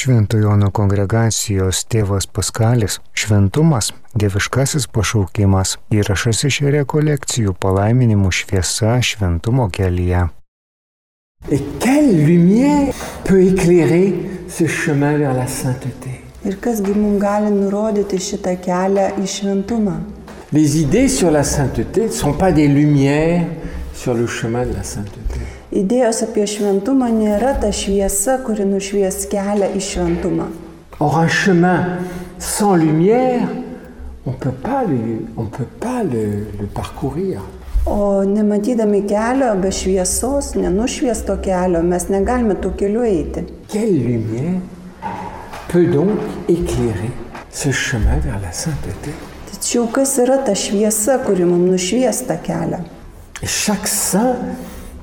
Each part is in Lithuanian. Šventojo Jono kongregacijos tėvas Paskalis Šventumas - dieviškasis pašaukimas - įrašas iš rekolekcijų palaiminimų šviesa šventumo kelyje. Et quelle lumière peut éclairer ce chemin vers la sainteté Ir kasgi mums gali nurodyti šitą kelią į šventumą? Les idées sur la sainteté ne sont pas des lumières sur le chemin de la sainteté. Idėjos apie šventumą nėra ta šviesa, kuri nušvies kelią į šventumą. Or, un chemin sans lumière, on ne peut pas le, on peut pas le- le parcourir. O nematydami kelio be šviesos, nenušviesto kelio, mes negalime tų kelių eiti. Quelle lumière peut donc éclairer ce chemin vers la sainteté Tačiau kas yra ta šviesa, kuri mums nušviesta kelią? Et chaque saint,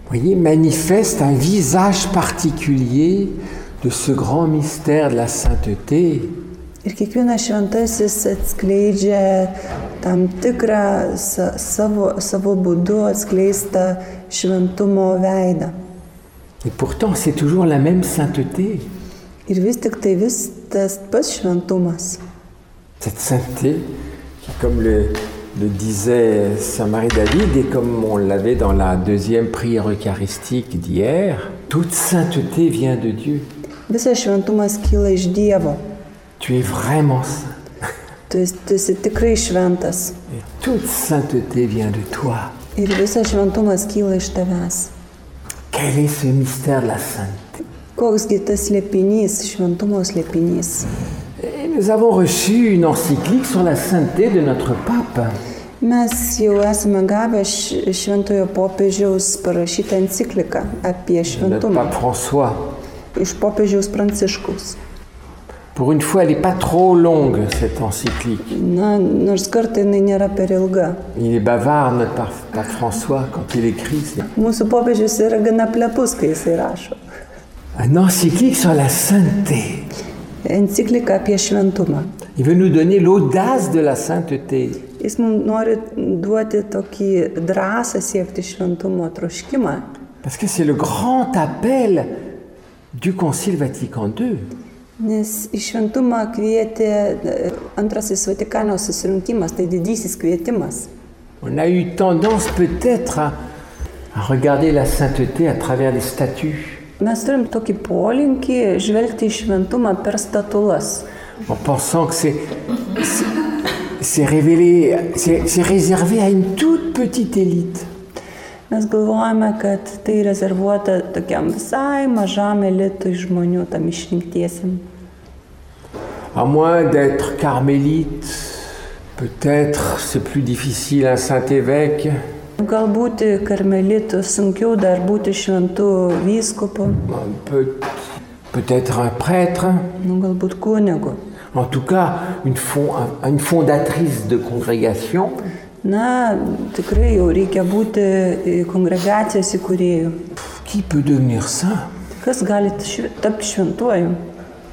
voyez, manifeste un visage particulier de ce grand mystère de la sainteté. Ir kiekvienas šventasis atskleidžia tam tikrą sa- savo, savo būdu atskleistą šventumo veidą. Et pourtant, c'est toujours la même sainteté. Ir vis tik tai vis tas pats šventumas. Cette sainteté, qui, comme le, le disait Saint Marie David et comme on l'avait dans la deuxième prière eucharistique d'hier, toute sainteté vient de Dieu. Visas šventumas kyla iš Dievo. Tu es vraiment saint. Tu, esi- tu esi tikrai šventas. Et toute sainteté vient de toi. Ir visas šventumas kyla iš tavęs. Quel est ce mystère de la sainteté Koksgi tas slėpinys, šventumo slėpinys. Et nous avons reçu une encyclique sur la sainteté de notre pape. Mes jau esame gavę š- šventojo popiežiaus parašytą encikliką apie Notre šventumą pape François. iš popiežiaus pranciškus. Pour une fois, elle n'est pas trop longue, cette encyclique. Na, nors kartai jinai nėra per ilga. Il est bavard, notre pape pape François, quand il écrit. c'est- Mūsų popiežius yra gana plepus, kai jisai rašo. Un encyclique sur la sainteté. Enciklika apie šventumą. Il veut nous donner l'audace de la sainteté. Jis mums nori duoti tokį drąsą siekti šventumo troškimą. Parce que c'est le grand appel du Concile Vatican II. Nes į šventumą kvietė e, antrasis Vatikano susirinkimas, tai didysis kvietimas. On a eu tendance peut-être à, à regarder la sainteté à travers les statues, Mes turim tokį polinkį žvelgti į šventumą per statulas. en pensant que c'est c'est- c'est révélé, c'est c'est réservé à une toute petite élite. Mes galvojame, kad tai rezervuota tokiam visai mažam elitui žmonių, tam išrinktiesiam. À moins d'être carmélite, peut-être c'est plus difficile un saint évêque. Gal būti karmelitu sunkiau dar būti šventu vyskupu, On peut- Peut-être un prêtre, nu, galbūt kunigu. en tout cas une, fon- un- une fondatrice de congrégation, Na, tikrai jau reikia būti e, kongregacijos įkūrėjų. qui peut devenir saint. Kas gali šv- tapti šventuoju?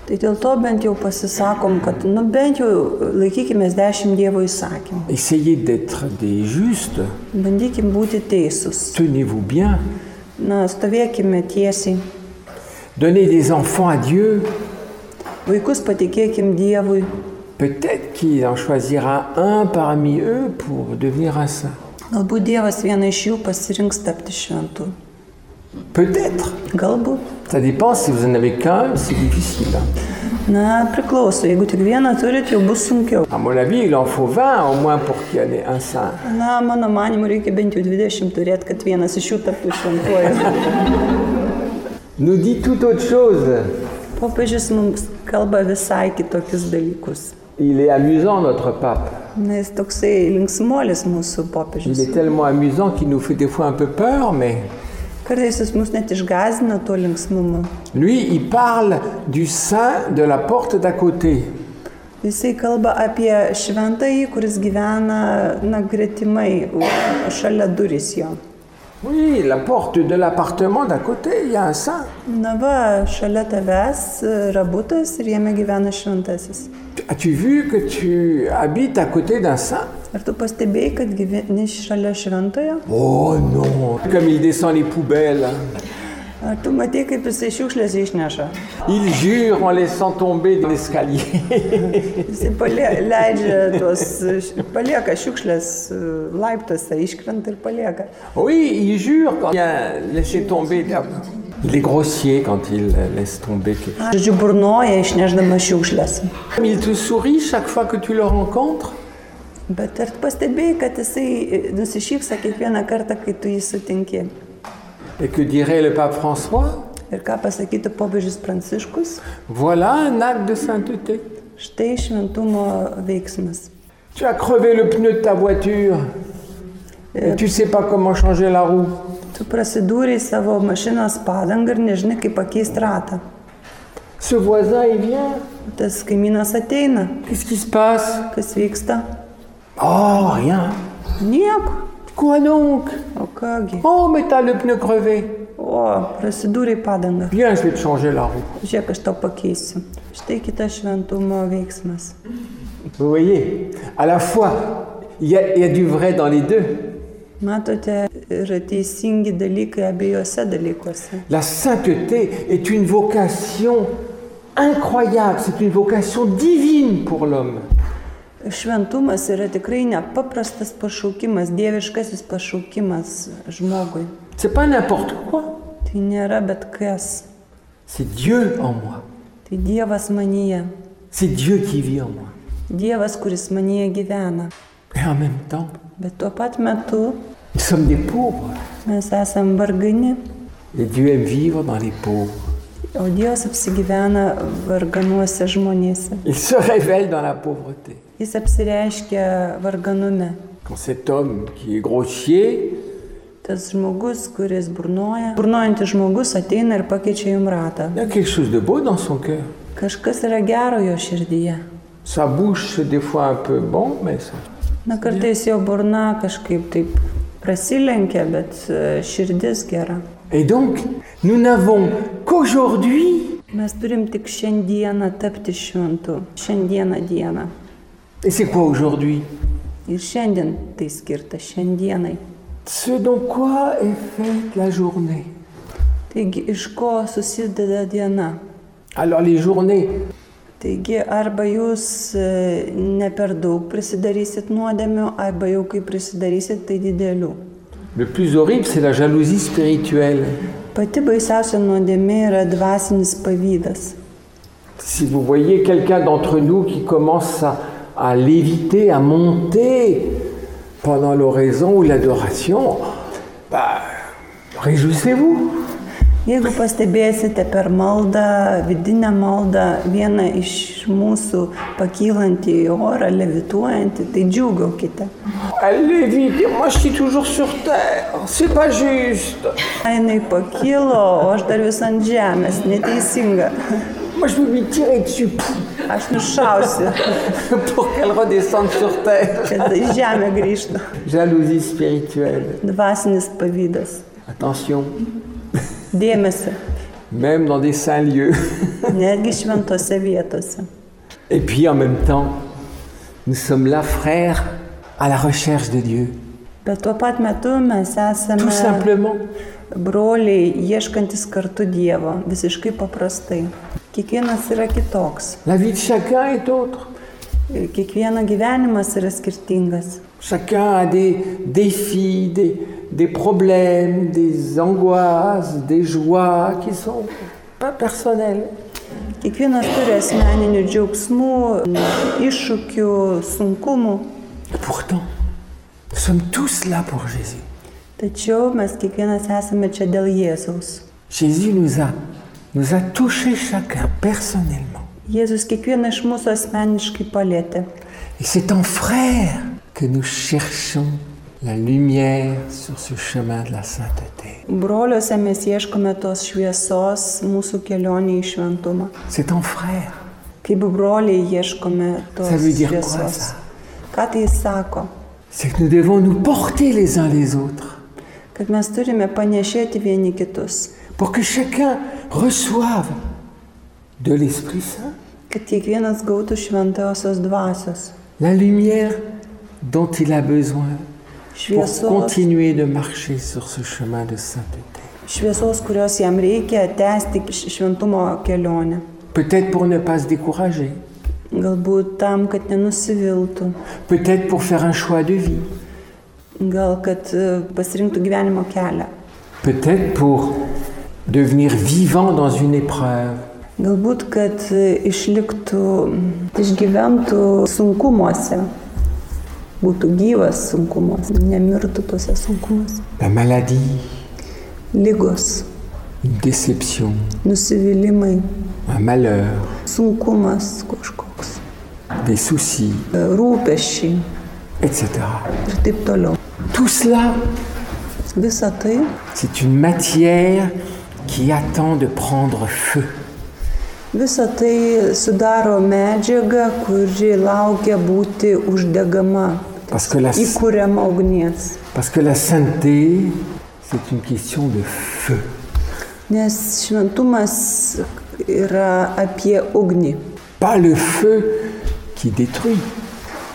Tai dėl to bent jau pasisakom, kad nu, bent jau laikykime dešimt Dievo įsakymų. Essayez d'être des justes, Bandykime būti teisūs. tenez-vous bien, Na, stovėkime tiesiai. donnez des enfants à Dieu, Vaikus patikėkim Dievui. peut-être qu'il en choisira un parmi eux pour devenir un saint. Galbūt Dievas vieną iš jų pasirinks tapti šventu. Peut-être. Galbūt. Ça dépend si vous en avez qu'un, c'est difficile. Na, priklauso. Jeigu tik vieną turit, jau bus sunkiau. À mon avis, il en faut 20 au moins pour qu'il y en ait un saint. Na, mano manimu, reikia bent jau 20 turėti, kad vienas iš jų taptų šventuoju. Nous dit tout autre chose. Popiežius mums kalba visai kitokius dalykus. Il est amusant, notre pape. Na, jis toksai linksmolis mūsų Il popiežius. est tellement amusant qu'il nous fait des fois un peu peur, mais Kartais jis mus net išgazina tuo linksmumu. lui, il parle du saint de la porte d'à côté. Jisai kalba apie šventąjį, kuris gyvena na, gretimai, u- šalia durys jo. Oui, la porte de l'appartement d'à côté, il y a un saint. Na va, šalia tavęs e, yra butas ir jame gyvena šventasis. As-tu vu que tu habites à côté d'un saint Ar tu pastebėjai, kad gyveni šalia šventojo? Oh non Comme il descend les poubelles. Ar tu matai, kaip jisai šiukšlės išneša? Il jure en laissant tomber de l'escalier. Jisai palie, leidžia tuos, š- palieka šiukšlės e, laiptuose, iškrenta ir palieka. oui, il jure quand il a laissé tomber. Il est grossier quand il laisse tomber quelque Žodžiu, burnoja išnešdama šiukšlės. chose. Il te sourit chaque fois que tu le rencontres. Bet ar pastebėjai, kad jisai e, nusišypsa kiekvieną kartą, kai tu jį sutinki? Et que dirait le pape François Ir ką pasakytų pobėžis Pranciškus? Voilà un acte de sainteté. Štai šventumo veiksmas. Tu as crevé le pneu de ta voiture. Et tu sais pas comment changer la roue. Tu prasidūrėjai savo mašinos padangą ir nežinai, kaip pakeisti ratą. Ce voisin, il vient. Tas kaimynas ateina. Qu'est-ce qui se passe Kas vyksta? Oh, rien. Nieko. Quoi donc O kągi? Oh, mais t'as le pneu crevé. O, prasidūrėjai padangą. Viens, je vais te changer la roue. Žiūrėk, aš tau pakeisiu. Štai kitas šventumo veiksmas. Vous voyez, à la fois, il y, a- il y a du vrai dans les deux. Matote, yra teisingi dalykai abiejose dalykuose. La sainteté est une vocation incroyable, c'est une vocation divine pour l'homme. Šventumas yra tikrai nepaprastas pašaukimas, dieviškasis pašaukimas žmogui. C'est pas n'importe quoi, Tai nėra bet kas. c'est Dieu en moi. Tai Dievas manyje. C'est Dieu qui vit en moi. Dievas, kuris manyje gyvena. Et en même temps, Bet tuo pat metu nous sommes des pauvres. mes esame vargani, Et Dieu aime vivre dans les pauvres. o Dievas apsigyvena varganuose žmonėse. Il se révèle dans la pauvreté. Jis apsireiškia varganume. Quand cet homme qui est grossier, Tas žmogus, kuris burnoja, burnojantis žmogus ateina ir pakeičia jum ratą. il y a quelque chose de beau dans son cœur. Kažkas yra gero jo širdyje. Sa bouche, c'est des fois un peu bon, mais ça- Na kartais jo burna kažkaip taip prasilenkia, bet e, širdis gera. Et donc, nous n'avons qu'aujourd'hui, Mes turim tik šiandieną tapti šventu. Šiandieną dieną. et c'est quoi aujourd'hui Ir šiandien tai skirta šiandienai. Ce dont quoi est faite la journée. Taigi iš ko susideda diena? Alors les journées, Taigi arba jūs e, ne per daug prisidarysit nuodėmių, arba jau kai prisidarysit, tai didelių. le plus horrible, c'est la jalousie spirituelle. Pati baisiausia nuodėmė yra dvasinis pavydas. Si vous voyez quelqu'un d'entre nous qui commence à, à léviter, à monter pendant l'oraison ou l'adoration, bah, réjouissez-vous. Jeigu pastebėsite per maldą, vidinę maldą, vieną iš mūsų pakylantį į orą, levituojantį, tai džiūgaukite. Elle lévite, et moi je suis toujours sur terre, c'est pas juste. Ainai pakilo, o aš dar vis ant žemės, neteisinga. Moi je vais lui tirer dessus Aš nušausiu, pour qu'elle redescende sur terre. kad į žemę grįžtų. Jalousie spirituelle. Dvasinis pavydas. Attention, Dėmesį, même dans des saints lieux. netgi šventose vietose. Et puis en même temps, nous sommes là, frères, à la recherche de Dieu. Bet tuo pat metu mes Tout esame simplement. broliai ieškantis kartu Dievo, visiškai paprastai. Kiekvienas yra kitoks, La vie de chacun est autre. ir kiekvieno gyvenimas yra skirtingas. Chacun a des défis, des, des problèmes, des angoisses, des joies qui sont pas personnelles. Kiekvienas turi asmeninių džiaugsmų, iššūkių, sunkumų, Et pourtant, nous sommes tous là pour Jésus. tačiau mes kiekvienas esame čia dėl Jėzaus. Jésus nous a, nous a touchés chacun personnellement. Jėzus kiekvieną iš mūsų asmeniškai palėtė. Et c'est en frère que nous cherchons la lumière sur ce chemin de la sainteté. Broliuose mes ieškome tos šviesos mūsų kelionį į šventumą. C'est en frère. Kaip broliai ieškome tos Ça veut dire quoi, šviesos. ça? Ką tai sako? C'est que nous devons nous porter les uns les autres Kad mes turime panešėti vieni kitus. pour que chacun reçoive de l'Esprit Saint Kad kiekvienas gautų šventosios dvasios. la lumière dont il a besoin pour Šviesos, continuer de marcher sur ce chemin de sainteté. šviesos, kurios jam reikia tęsti šventumo kelionę. Peut-être pour ne pas se décourager. Galbūt tam, kad nenusiviltų, Peut-être pour faire un choix de vie. gal kad e, pasirinktų gyvenimo kelią, Peut-être pour devenir vivant dans une épreuve. galbūt kad e, išliktų, mm, išgyventų sunkumuose, būtų gyvas sunkumuose, nemirtų tuose sunkumuose. La maladie, Lygos, une déception, nusivylimai, un malheur, sunkumas kažkoks, des soucis, e, rūpeščiai etc. ir taip toliau. Tout cela, Visa tai c'est une matière qui attend de prendre feu. Visą tai sudaro medžiaga, kuri laukia būti uždegama, Parce que la, įkūriama ugnies. parce que la sainteté, c'est une question de feu. Nes šventumas yra apie ugnį. Pas le feu qui détruit,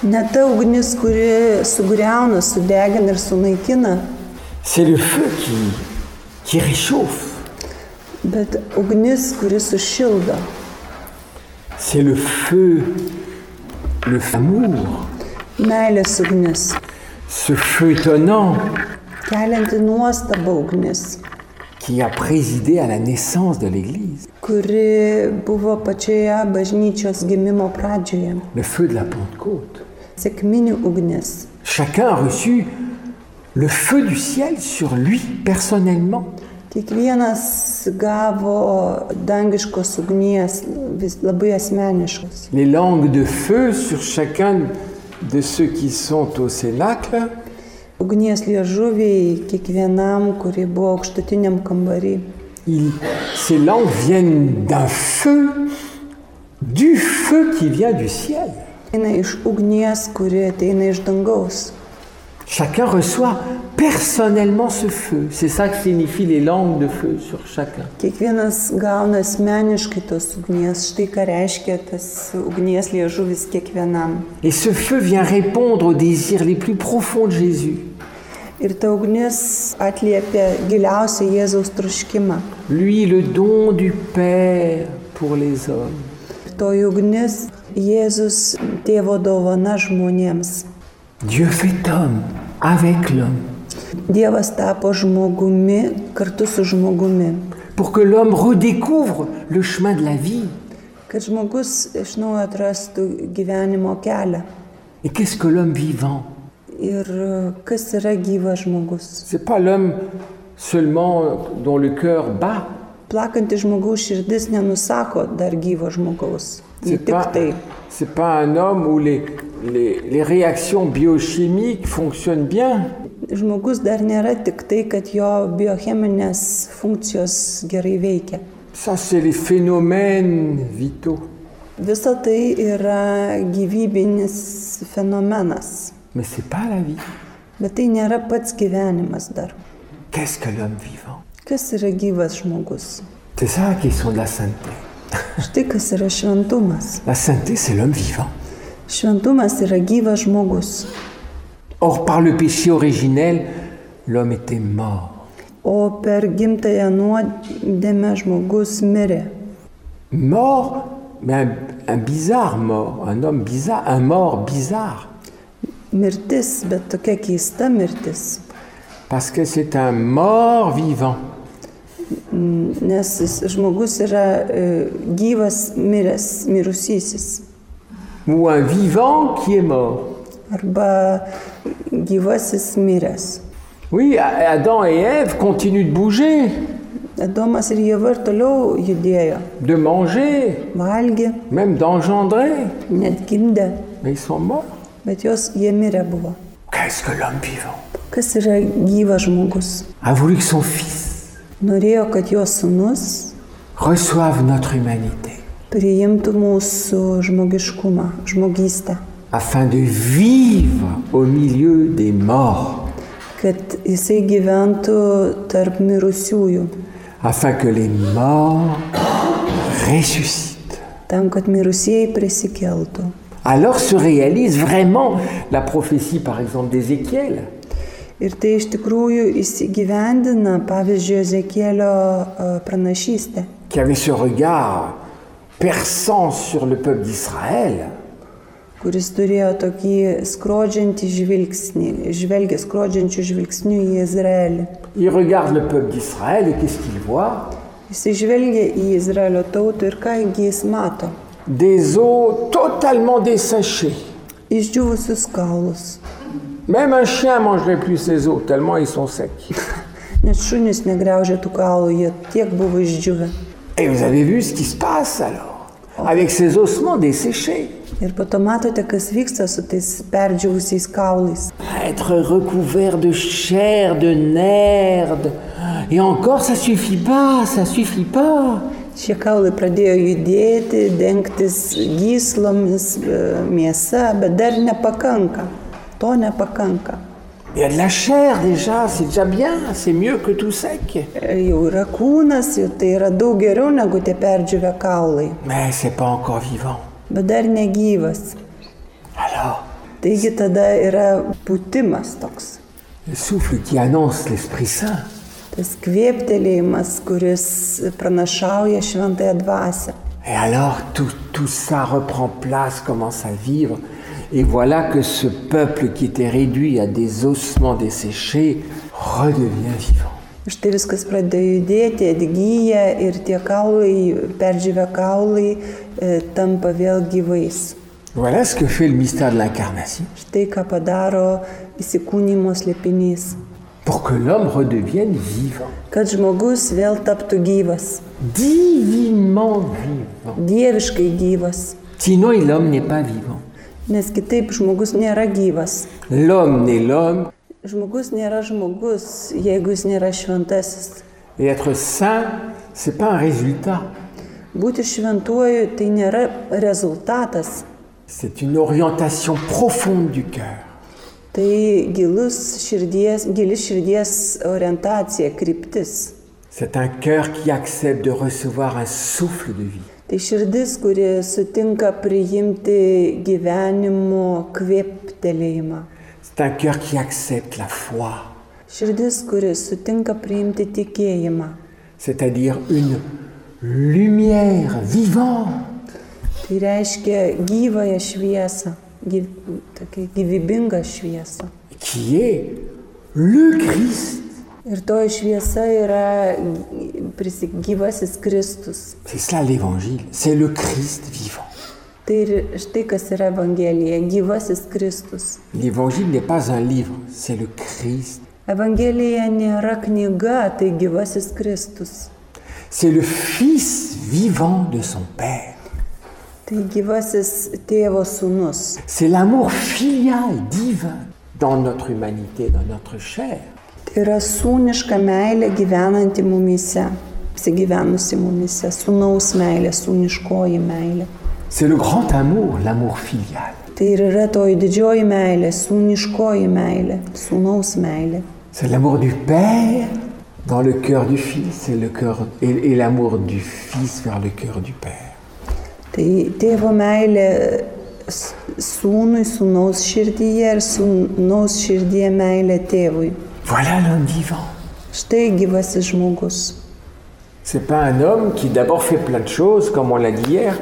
Ne ta ugnis, kuri sugriauna, sudegina ir sunaikina, c'est le feu qui, qui réchauffe. bet ugnis, kuri sušildo. C'est le feu, le feu amour, Meilės ugnis, ce feu étonnant kelianti nuostabą ugnis, qui a présidé à la naissance de l'Église, kuri buvo pačioje bažnyčios gimimo pradžioje. le feu de la Pentecôte. Sėkminių ugnis, Chacun a reçu le feu du ciel sur lui personnellement. Kiekvienas gavo dangiškos ugnies vis labai asmeniškos. Les langues de feu sur chacun de ceux qui sont au cénacle, Ugnies liežuviai kiekvienam, kuri buvo aukštutiniam kambarį. il- ces langues viennent d'un feu, du feu qui vient du ciel. Eina iš ugnies, kuri ateina iš dangaus. Chacun reçoit personnellement ce feu. C'est ça que signifient les langues de feu sur chacun. Kiekvienas gauna asmeniškai tos ugnies. Štai ką reiškia tas ugnies liežuvis kiekvienam. Et ce feu vient répondre aux désirs les plus profonds de Jésus. Ir ta ugnis atliepia giliausią Jėzaus troškimą. Lui, le don du Père pour les hommes. Toji ugnis Jėzus tėvo dovana žmonėms. Dieu fait homme avec l'homme Dievas tapo žmogumi kartu su žmogumi. pour que l'homme redécouvre le chemin de la vie. Kad žmogus iš naujo atrastų gyvenimo kelią. Et qu'est-ce que l'homme vivant Ir e, kas yra gyvas žmogus? C'est pas l'homme seulement dont le cœur bat. Plakanti žmogaus širdis nenusako dar gyvo žmogaus. Ji C'est tik pas, tai. c'est pas un homme où les- les- les réactions biochimiques fonctionnent bien. Žmogus dar nėra tik tai, kad jo biocheminės funkcijos gerai veikia. Ça, c'est les phénomènes vitaux. Visa tai yra gyvybinis fenomenas. Mais c'est pas la vie. Bet tai nėra pats gyvenimas dar. Qu'est-ce que l'homme vivant Kas yra gyvas žmogus? C'est ça la question de la sainteté. Štai kas yra šventumas. La sainteté, c'est l'homme vivant. Šventumas yra gyvas žmogus, Or, par le péché originel, l'homme était mort. o per gimtąją nuodėmę žmogus mirė. Mort, mais un, un bizarre mort, un homme bizarre, un mort bizarre. Mirtis, bet tokia keista mirtis, Parce que c'est un mort vivant. nes jis- žmogus yra e, gyvas miręs, mirusysis. Ou un vivant qui est mort. Arba gyvasis miręs. Oui, A- Adam et Ève continuent de bouger, Adomas ir Jėva ir toliau judėjo, de manger, valgė, même d'engendrer. net gimdė, Mais ils sont morts. bet jos jie mirė buvo. Qu'est-ce que l'homme vivant Kas yra gyvas žmogus? a voulu que son Fils Norėjo, kad jo sunus reçoive notre humanité priimtų mūsų žmogiškumą, žmogystę, afin de vivre au milieu des morts, kad jisai gyventų tarp mirusiųjų, afin que les morts ressuscitent. tam, kad mirusieji prisikeltų. Alors se réalise vraiment la prophétie, par exemple, d'Ézéchiel, Ir tai iš tikrųjų įsigyvendina, pavyzdžiui, Ezekėlio pranašystė. qui avait ce regard perçant sur le peuple d'Israël, kuris turėjo tokį skrodžiantį žvilgsnį, žvelgia skrodžiančių žvilgsnių į Izraelį. il regarde le peuple d'Israël et qu'est-ce qu'il voit Jis žvelgia į Izraelio tautą ir kągi jis mato? Des eaux totalement desséchées. Išdžiūvusius kaulus. Même un chien mangerait plus ces eaux, tellement ils sont secs. Net šunys negriaužė tų kaulų, jie tiek buvo išdžiūvę. Et vous avez vu ce qui se passe alors, avec ces ossements desséchés. Ir po to matote, kas vyksta su tais perdžiūvusiais kaulais. Être recouvert de chair, de nerfs, de- et encore ça suffit pas, ça suffit pas. Šie kaulai pradėjo judėti, dengtis gyslomis, e, mėsa, bet dar nepakanka. To nepakanka. Il y a de la chair déjà, c'est déjà bien, c'est mieux que tout sec. E, Jau yra kūnas, jau tai yra daug geriau negu tie perdžiūvę kaulai, Mais c'est pas encore vivant. bet dar negyvas. Alors, Taigi tada yra putimas toks, le souffle qui annonce l'Esprit Saint, tas kvėptelėjimas, kuris pranašauja šventąją dvasę. et alors tout, tout ça reprend place, commence à vivre. Et voilà que ce peuple qui était réduit à des ossements desséchés redevient vivant. Štai tai viskas pradėjo judėti, atgyja ir tie kaulai, perdžiavę kaulai, e, tampa vėl gyvais. Voilà ce que fait le mystère de l'incarnation. Štai ką padaro įsikūnymo slėpinys. Pour que l'homme redevienne vivant. Kad žmogus vėl taptų gyvas, Divinement vivant. dieviškai gyvas, Sinon, l'homme n'est pas vivant. nes kitaip žmogus nėra gyvas. L'homme n'est l'homme. Žmogus nėra žmogus, jeigu jis nėra šventasis. Et être saint, c'est pas un résultat. Būti šventuoju tai nėra rezultatas, C'est une orientation profonde du cœur. tai gilus širdies, gili širdies orientacija, kryptis. C'est un cœur qui accepte de recevoir un souffle de vie. Tai širdis, kuri sutinka priimti gyvenimo kvėptelėjimą. C'est un cœur qui accepte la foi, Širdis, kuri sutinka priimti tikėjimą. c'est-à-dire une lumière vivante. Tai reiškia gyvąją šviesą, gyv, tokią gyvybingą šviesą. qui est le Christ. Ir toji šviesa yra prisi- gyvasis Kristus. C'est cela l'évangile, c'est le Christ vivant. Tai ir štai kas yra Evangelija - gyvasis Kristus. L'évangile n'est pas un livre, c'est le Christ. Evangelija nėra knyga, tai gyvasis Kristus. C'est le Fils vivant de son Père. Tai gyvasis tėvo sūnus. C'est l'amour filial divin dans notre humanité, dans notre chair. Tai yra sūniška meilė gyvenanti mumise, apsigyvenusi mumise, sūnaus meilė, sūniškoji meilė. C'est le grand amour, l'amour filial. Tai ir yra toji didžioji meilė, sūniškoji meilė, sūnaus meilė. C'est l'amour du Père dans le cœur du Fils et, le cœur, et, et l'amour du Fils vers le cœur du Père. Tai tėvo meilė s- sūnui, sūnaus širdyje ir sūnaus širdyje meilė tėvui. Voilà l'homme vivant. Štai gyvasis žmogus. C'est pas un homme qui d'abord fait plein de choses, comme on l'a dit hier.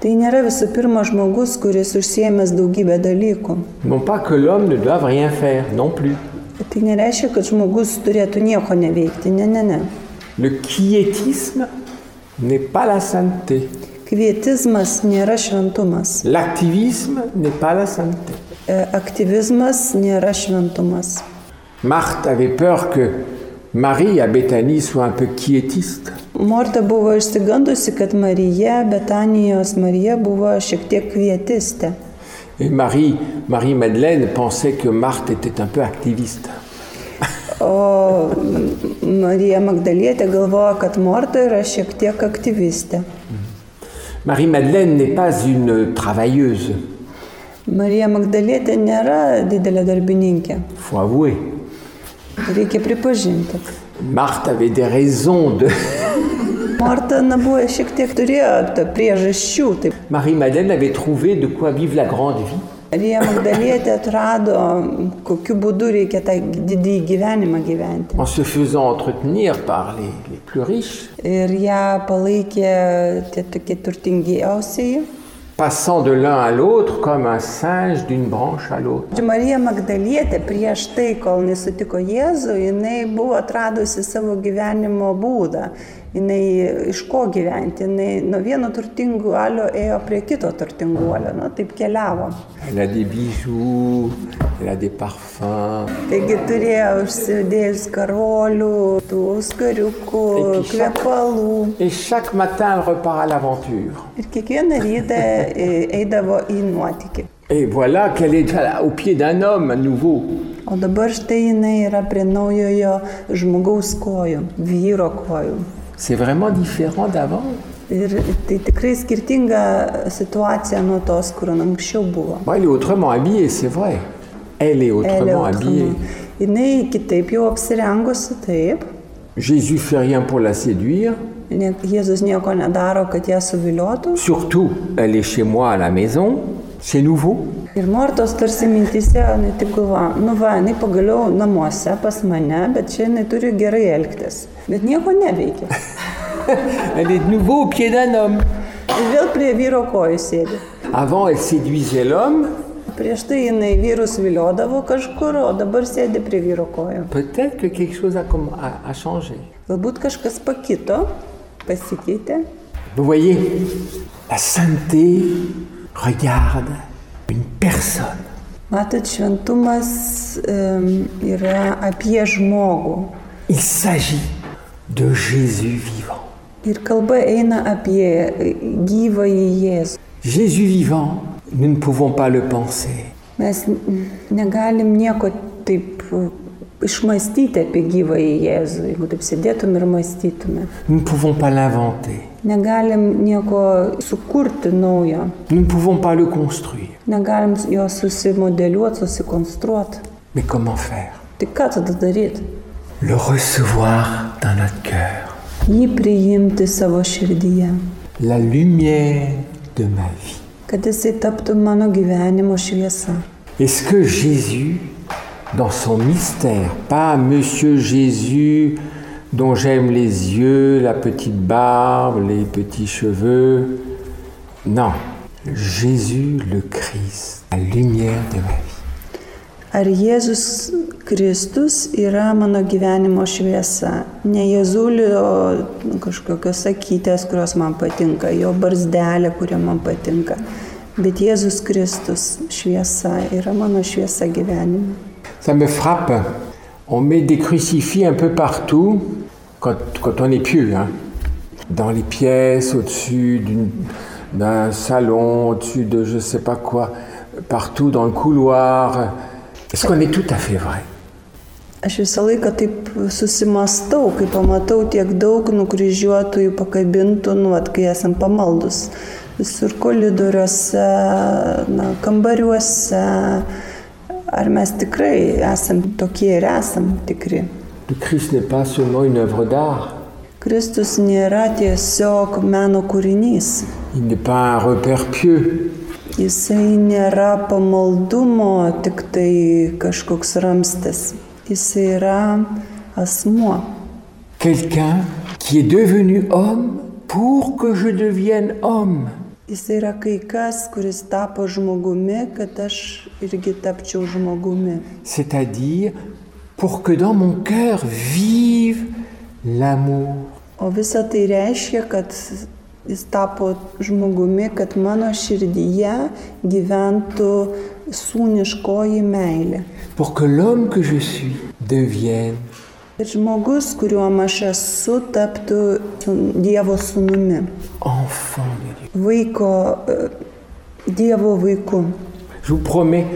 Tai nėra visų pirma žmogus, kuris užsiemęs daugybę dalykų. Non pas que l'homme ne doive rien faire, non plus. Tai nereiškia, kad žmogus turėtų nieko neveikti. Ne, ne, ne. Le quiétisme n'est pas la sainteté. Kvietizmas nėra šventumas. L'activisme n'est pas la sainteté. E, Aktyvizmas nėra šventumas. Marthe avait peur que Marie à Béthanie soit un peu quiétiste. Morta buvo išsigandusi, kad Marija, Betanijos Marija buvo šiek tiek kvietistė. Et Marie, Marie-Madeleine pensait que Marthe était un peu activiste. O M- Marija Magdalietė galvoja, kad Morta yra šiek tiek aktyvistė. Marie-Madeleine n'est pas une travailleuse, Marija Magdalietė nėra didelė darbininkė. faut avouer. Reikia pripažinti. Marthe avait des raisons de... Morta na, buvo šiek tiek turėjo ta priežasčių. tai Taip. Marie-Madeleine avait trouvé de quoi vivre la grande vie. Marija Magdalietė atrado, kokiu būdu reikia tą didįjį gyvenimą gyventi. en se faisant entretenir par les, les plus riches, Ir ją palaikė tie tokie turtingiausiai. passant de l'un à l'autre comme un singe d'une branche à l'autre. Čia Marija Magdalietė prieš tai, kol nesutiko Jėzų, jinai buvo atradusi savo gyvenimo būdą. Jinai iš ko gyventi, jinai nuo vieno turtinguolio ėjo prie kito turtinguolio, nu, taip keliavo. Elle a des bijoux, elle a des parfums, Taigi turėjo užsidėjus karolių, tų skariukų, Taip, iš- kvepalų. et chaque matin elle repart à l'aventure. Ir kiekvieną rytą e, eidavo į nuotikį. Et voilà qu'elle est à- au pied d'un homme à nouveau. O dabar štai jinai yra prie naujojo žmogaus kojų, vyro kojų. C'est vraiment différent d'avant. Ir tai tikrai skirtinga situacija nuo tos, kur anksčiau buvo. Bon, elle est autrement habillée, c'est vrai. Elle est autrement habillée. Jis kitaip jau apsirengusi taip. Jésus fait rien pour la séduire. Ne- Jėzus nieko nedaro, kad ją suviliotų. Surtout, elle est chez moi à la maison. C'est nouveau. Ir Mortos tarsi mintise, jinai tik galvoja, nu va, jinai pagaliau namuose pas mane, bet čia jinai turi gerai elgtis. Bet nieko neveikia. Elle est de nouveau au pied d'un homme. Ir vėl prie vyro kojų sėdi. Avant, elle séduisait l'homme. Prieš tai jinai vyrus viliodavo kažkur, o dabar sėdi prie vyro kojų. Peut-être que quelque chose a, comm- a- a changé. Galbūt kažkas pakito, pasikeitė. Vous voyez, la sainteté regarde une personne. Matot, šventumas em, yra apie žmogų. Il s'agit de Jésus vivant. Ir kalba eina apie e, gyvąjį Jėzų. Jésus vivant, nous ne pouvons pas le penser. Mes n- negalim nieko taip e, išmastyti apie gyvąjį Jėzų, jeigu taip sėdėtum ir mąstytume. Nous ne pouvons pas l'inventer. Negalim nieko sukurti naujo, Nous ne pouvons pas le construire. negalim jo susimodeliuoti, susikonstruoti. Mais comment faire Tai ką tada daryti? Le recevoir dans notre cœur. Jį priimti savo širdyje, La lumière de ma vie. kad jisai taptų mano gyvenimo šviesa. Est-ce que Jésus, dans son mystère, pas Monsieur Jésus dont j'aime les yeux, la petite barbe, les petits cheveux, non, Jésus le Christ, la lumière de ma vie. Ar Jėzus Kristus yra mano gyvenimo šviesa? Ne Jėzulio kažkokios sakytės, kurios man patinka, jo barzdelė, kuri man patinka, bet Jėzus Kristus šviesa yra mano šviesa gyvenime. Ça me frappe, on met des crucifix un peu partout quand, quand on est pieux, hein. dans les pièces, au-dessus d'une- d'un salon, au-dessus de je sais pas quoi, partout dans le couloir. Est-ce qu'on est tout à fait vrai Aš visą laiką taip susimastau, kai pamatau tiek daug nukryžiuotųjų pakabintų, nu, at, kai esam pamaldus. Visur kolidoriuose, na, kambariuose. Ar mes tikrai esam tokie ir esam tikri? Le Christ n'est pas seulement une œuvre d'art, Kristus nėra tiesiog meno kūrinys. il n'est pas un repère pieux, Jisai nėra pamaldumo tik tai kažkoks ramstis. Jisai yra asmuo. quelqu'un qui est devenu homme pour que je devienne homme. Jis yra kai kas, kuris tapo žmogumi, kad aš irgi tapčiau žmogumi. c'est-à-dire pour que dans mon cœur vive l'amour. O visa tai reiškia, kad jis tapo žmogumi, kad mano širdyje gyventų sūniškoji meilė. Pour que l'homme que je suis devienne Ir žmogus, kuriuo aš esu, taptų sūn- Dievo sūnumi, enfant de Dieu. vaiko, e, Dievo vaiku. Je vous promets,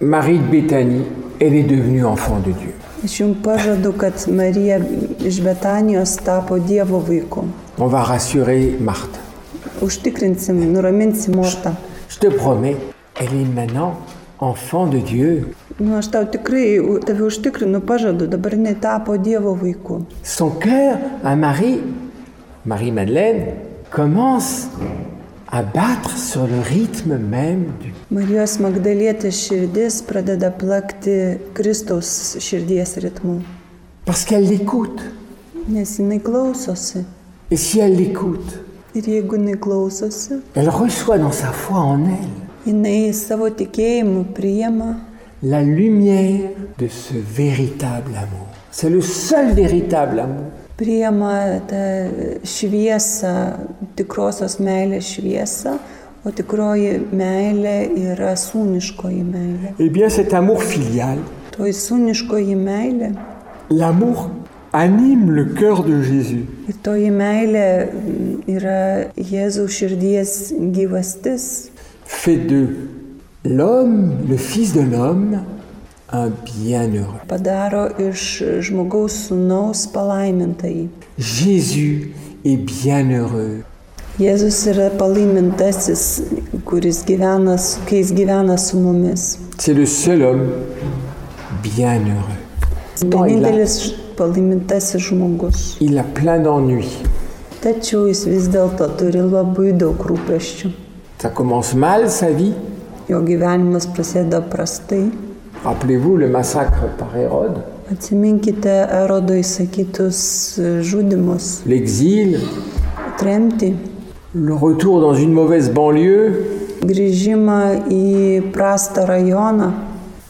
Marie de Béthanie, elle est devenue enfant de Dieu. Aš jums pažadu, kad Marija iš Betanijos tapo Dievo vaiku. On va rassurer Marthe. Užtikrinsim, nuraminsim mortą. Je te promets, elle est maintenant enfant de Dieu. Nu, aš tau tikrai, u- tave užtikrinu, pažadu, dabar jinai tapo Dievo vaiku. Son cœur à Marie, Marie-Madeleine, commence à battre sur le rythme même du Marijos Magdalietės širdis pradeda plakti Kristaus širdies ritmu, Parce qu'elle l'écoute. nes jinai klausosi. Et si elle l'écoute, Ir jeigu jinai klausosi, elle reçoit dans sa foi en elle jinai savo tikėjimu priima la lumière de ce véritable amour. C'est le seul véritable amour. priema tą šviesą, tikrosios meilės šviesą, o tikroji meilė yra sūniškoji meilė. Eh bien, cet amour filial, Toji sūniškoji meilė l'amour anime le cœur de Jésus. ir toji meilė mm, yra Jėzaus širdies gyvastis, Fait de l'homme, le Fils de l'homme, un bienheureux. padaro iš žmogaus sūnaus palaimintai. Jésus est bienheureux. Jėzus yra palaimintasis, kuris gyvena, su- kai jis gyvena su mumis. C'est le seul homme bienheureux. Pourtant, il, a, Vienintelis ž- palaimintasis žmogus. il a plein d'ennuis. Tačiau jis vis dėlto turi labai daug rūpeščių. Ça commence mal sa vie. Jo gyvenimas prasideda prastai. Rappelez-vous le massacre par Hérode, Atsiminkite Erodo įsakytus e, žudimus, l'exil, tremtį, le retour dans une mauvaise banlieue, grįžimą į prastą rajoną,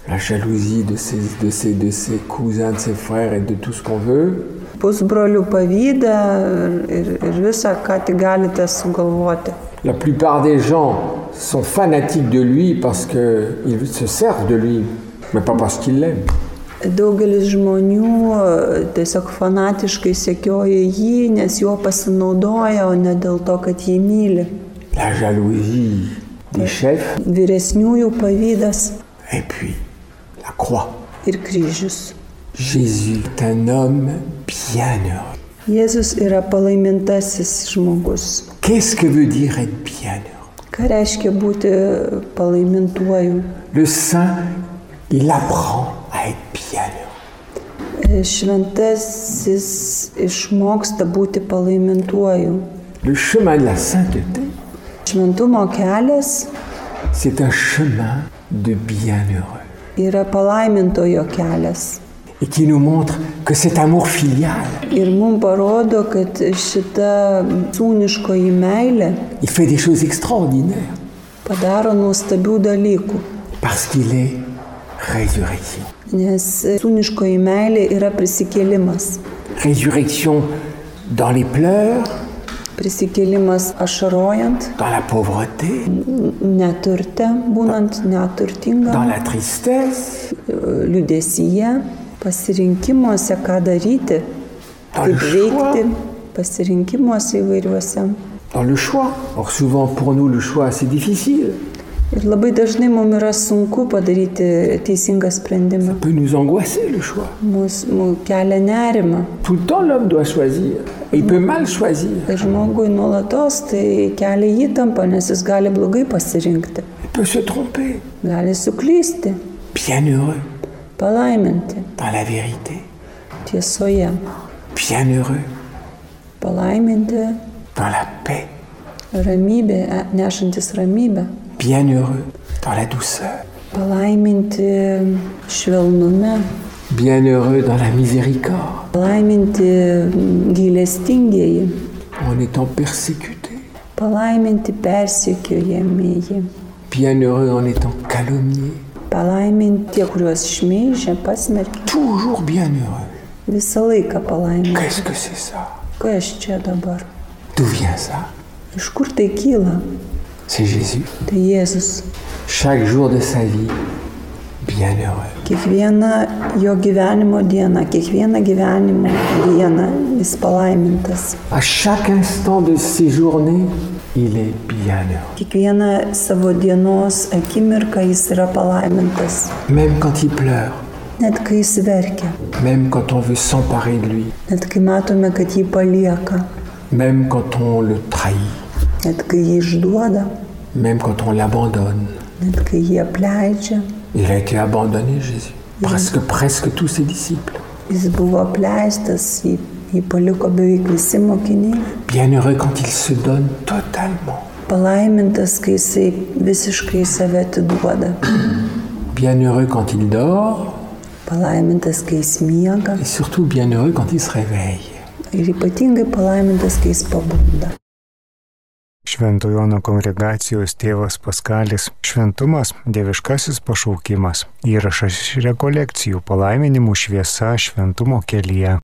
la jalousie de ses, de ses- de ses cousins, de ses frères et de tout ce qu'on veut. pusbrolių pavydą ir, ir, ir visą, ką tik galite sugalvoti. La plupart des gens sont fanatiques de lui parce qu'ils se servent de lui, mais pas parce qu'ils l'aiment. Daugelis žmonių e, tiesiog fanatiškai sekioja jį, nes juo pasinaudoja, o ne dėl to, kad jį myli. La jalousie des chefs Vyresniųjų pavydas et puis la croix. ir kryžius. Jésus est un homme bienheureux. Jėzus yra palaimintasis žmogus. Qu'est-ce que veut dire être bienheureux Ką reiškia būti palaimintuoju? Le saint, il apprend à être bienheureux. Šventasis išmoksta būti palaimintuoju. Le chemin de la sainteté, Šventumo kelias c'est un chemin de bienheureux. yra palaimintojo kelias. Et qui nous montre que cet amour filial, Ir mums parodo, kad šita sūniškoji meilė il fait des choses extraordinaires padaro nuostabių dalykų. parce qu'il est résurrection. Nes sūniškoji meilė yra prisikėlimas. Résurrection dans les pleurs, Prisikėlimas ašarojant, dans la pauvreté, neturte, būnant dans neturtingam, la tristesse, liudesyje, pasirinkimuose, ką daryti, Ar kaip šuo? veikti, pasirinkimuose įvairiuose. dans le choix. Or souvent pour nous le choix c'est difficile, Ir labai dažnai mums yra sunku padaryti teisingą sprendimą. peut nous angoisser le choix. Mūsų mū kelia nerima. Tout le temps l'homme doit choisir et il peut mal choisir. Ir žmogui nuolatos tai kelia įtampą, nes jis gali blogai pasirinkti, Il peut se tromper. gali suklysti, Bienheureux palaiminti dans la vérité, tiesoje, bienheureux palaiminti dans la paix, ramybė, e- nešantis ramybę. bienheureux dans la douceur, Palaiminti švelnume, bienheureux dans la miséricorde, palaiminti gilestingieji, en étant persécuté, palaiminti persikiojamieji, bienheureux en étant calomnié, palaiminti tie, kuriuos šmeižia, pasmerkia, toujours bienheureux. visą laiką palaiminti. Qu'est-ce que c'est ça Kai aš čia dabar? D'où vient ça Iš kur tai kyla? C'est Jésus. Tai Jėzus. Chaque jour de sa vie, bienheureux. Kiekvieną jo gyvenimo dieną, kiekvieną gyvenimo dieną jis palaimintas. À chaque instant de ses journées, il est bienheureux. Kiekvieną savo dienos akimirką jis yra palaimintas. Même quand il pleure, Net kai jis verkia, même quand on veut s'emparer de lui, net kai matome, kad jį palieka, même quand on le trahit, net kai jį išduoda, même quand on l'abandonne. net kai jį apleidžia. Il a été abandonné, Jésus. Presque, presque tous ses disciples. Jis buvo apleistas, jį, jį paliko beveik visi mokiniai. Bienheureux quand il se donne totalement. palaimintas, kai jisai visiškai save atiduoda, bienheureux quand il dort palaimintas, kai jis miega et surtout bienheureux quand il se réveille. ir ypatingai palaimintas, kai jis pabunda. Švento Jono kongregacijos tėvas Paskalis Šventumas - dieviškasis pašaukimas. Įrašas iš rekolekcijų palaiminimų šviesa šventumo kelyje.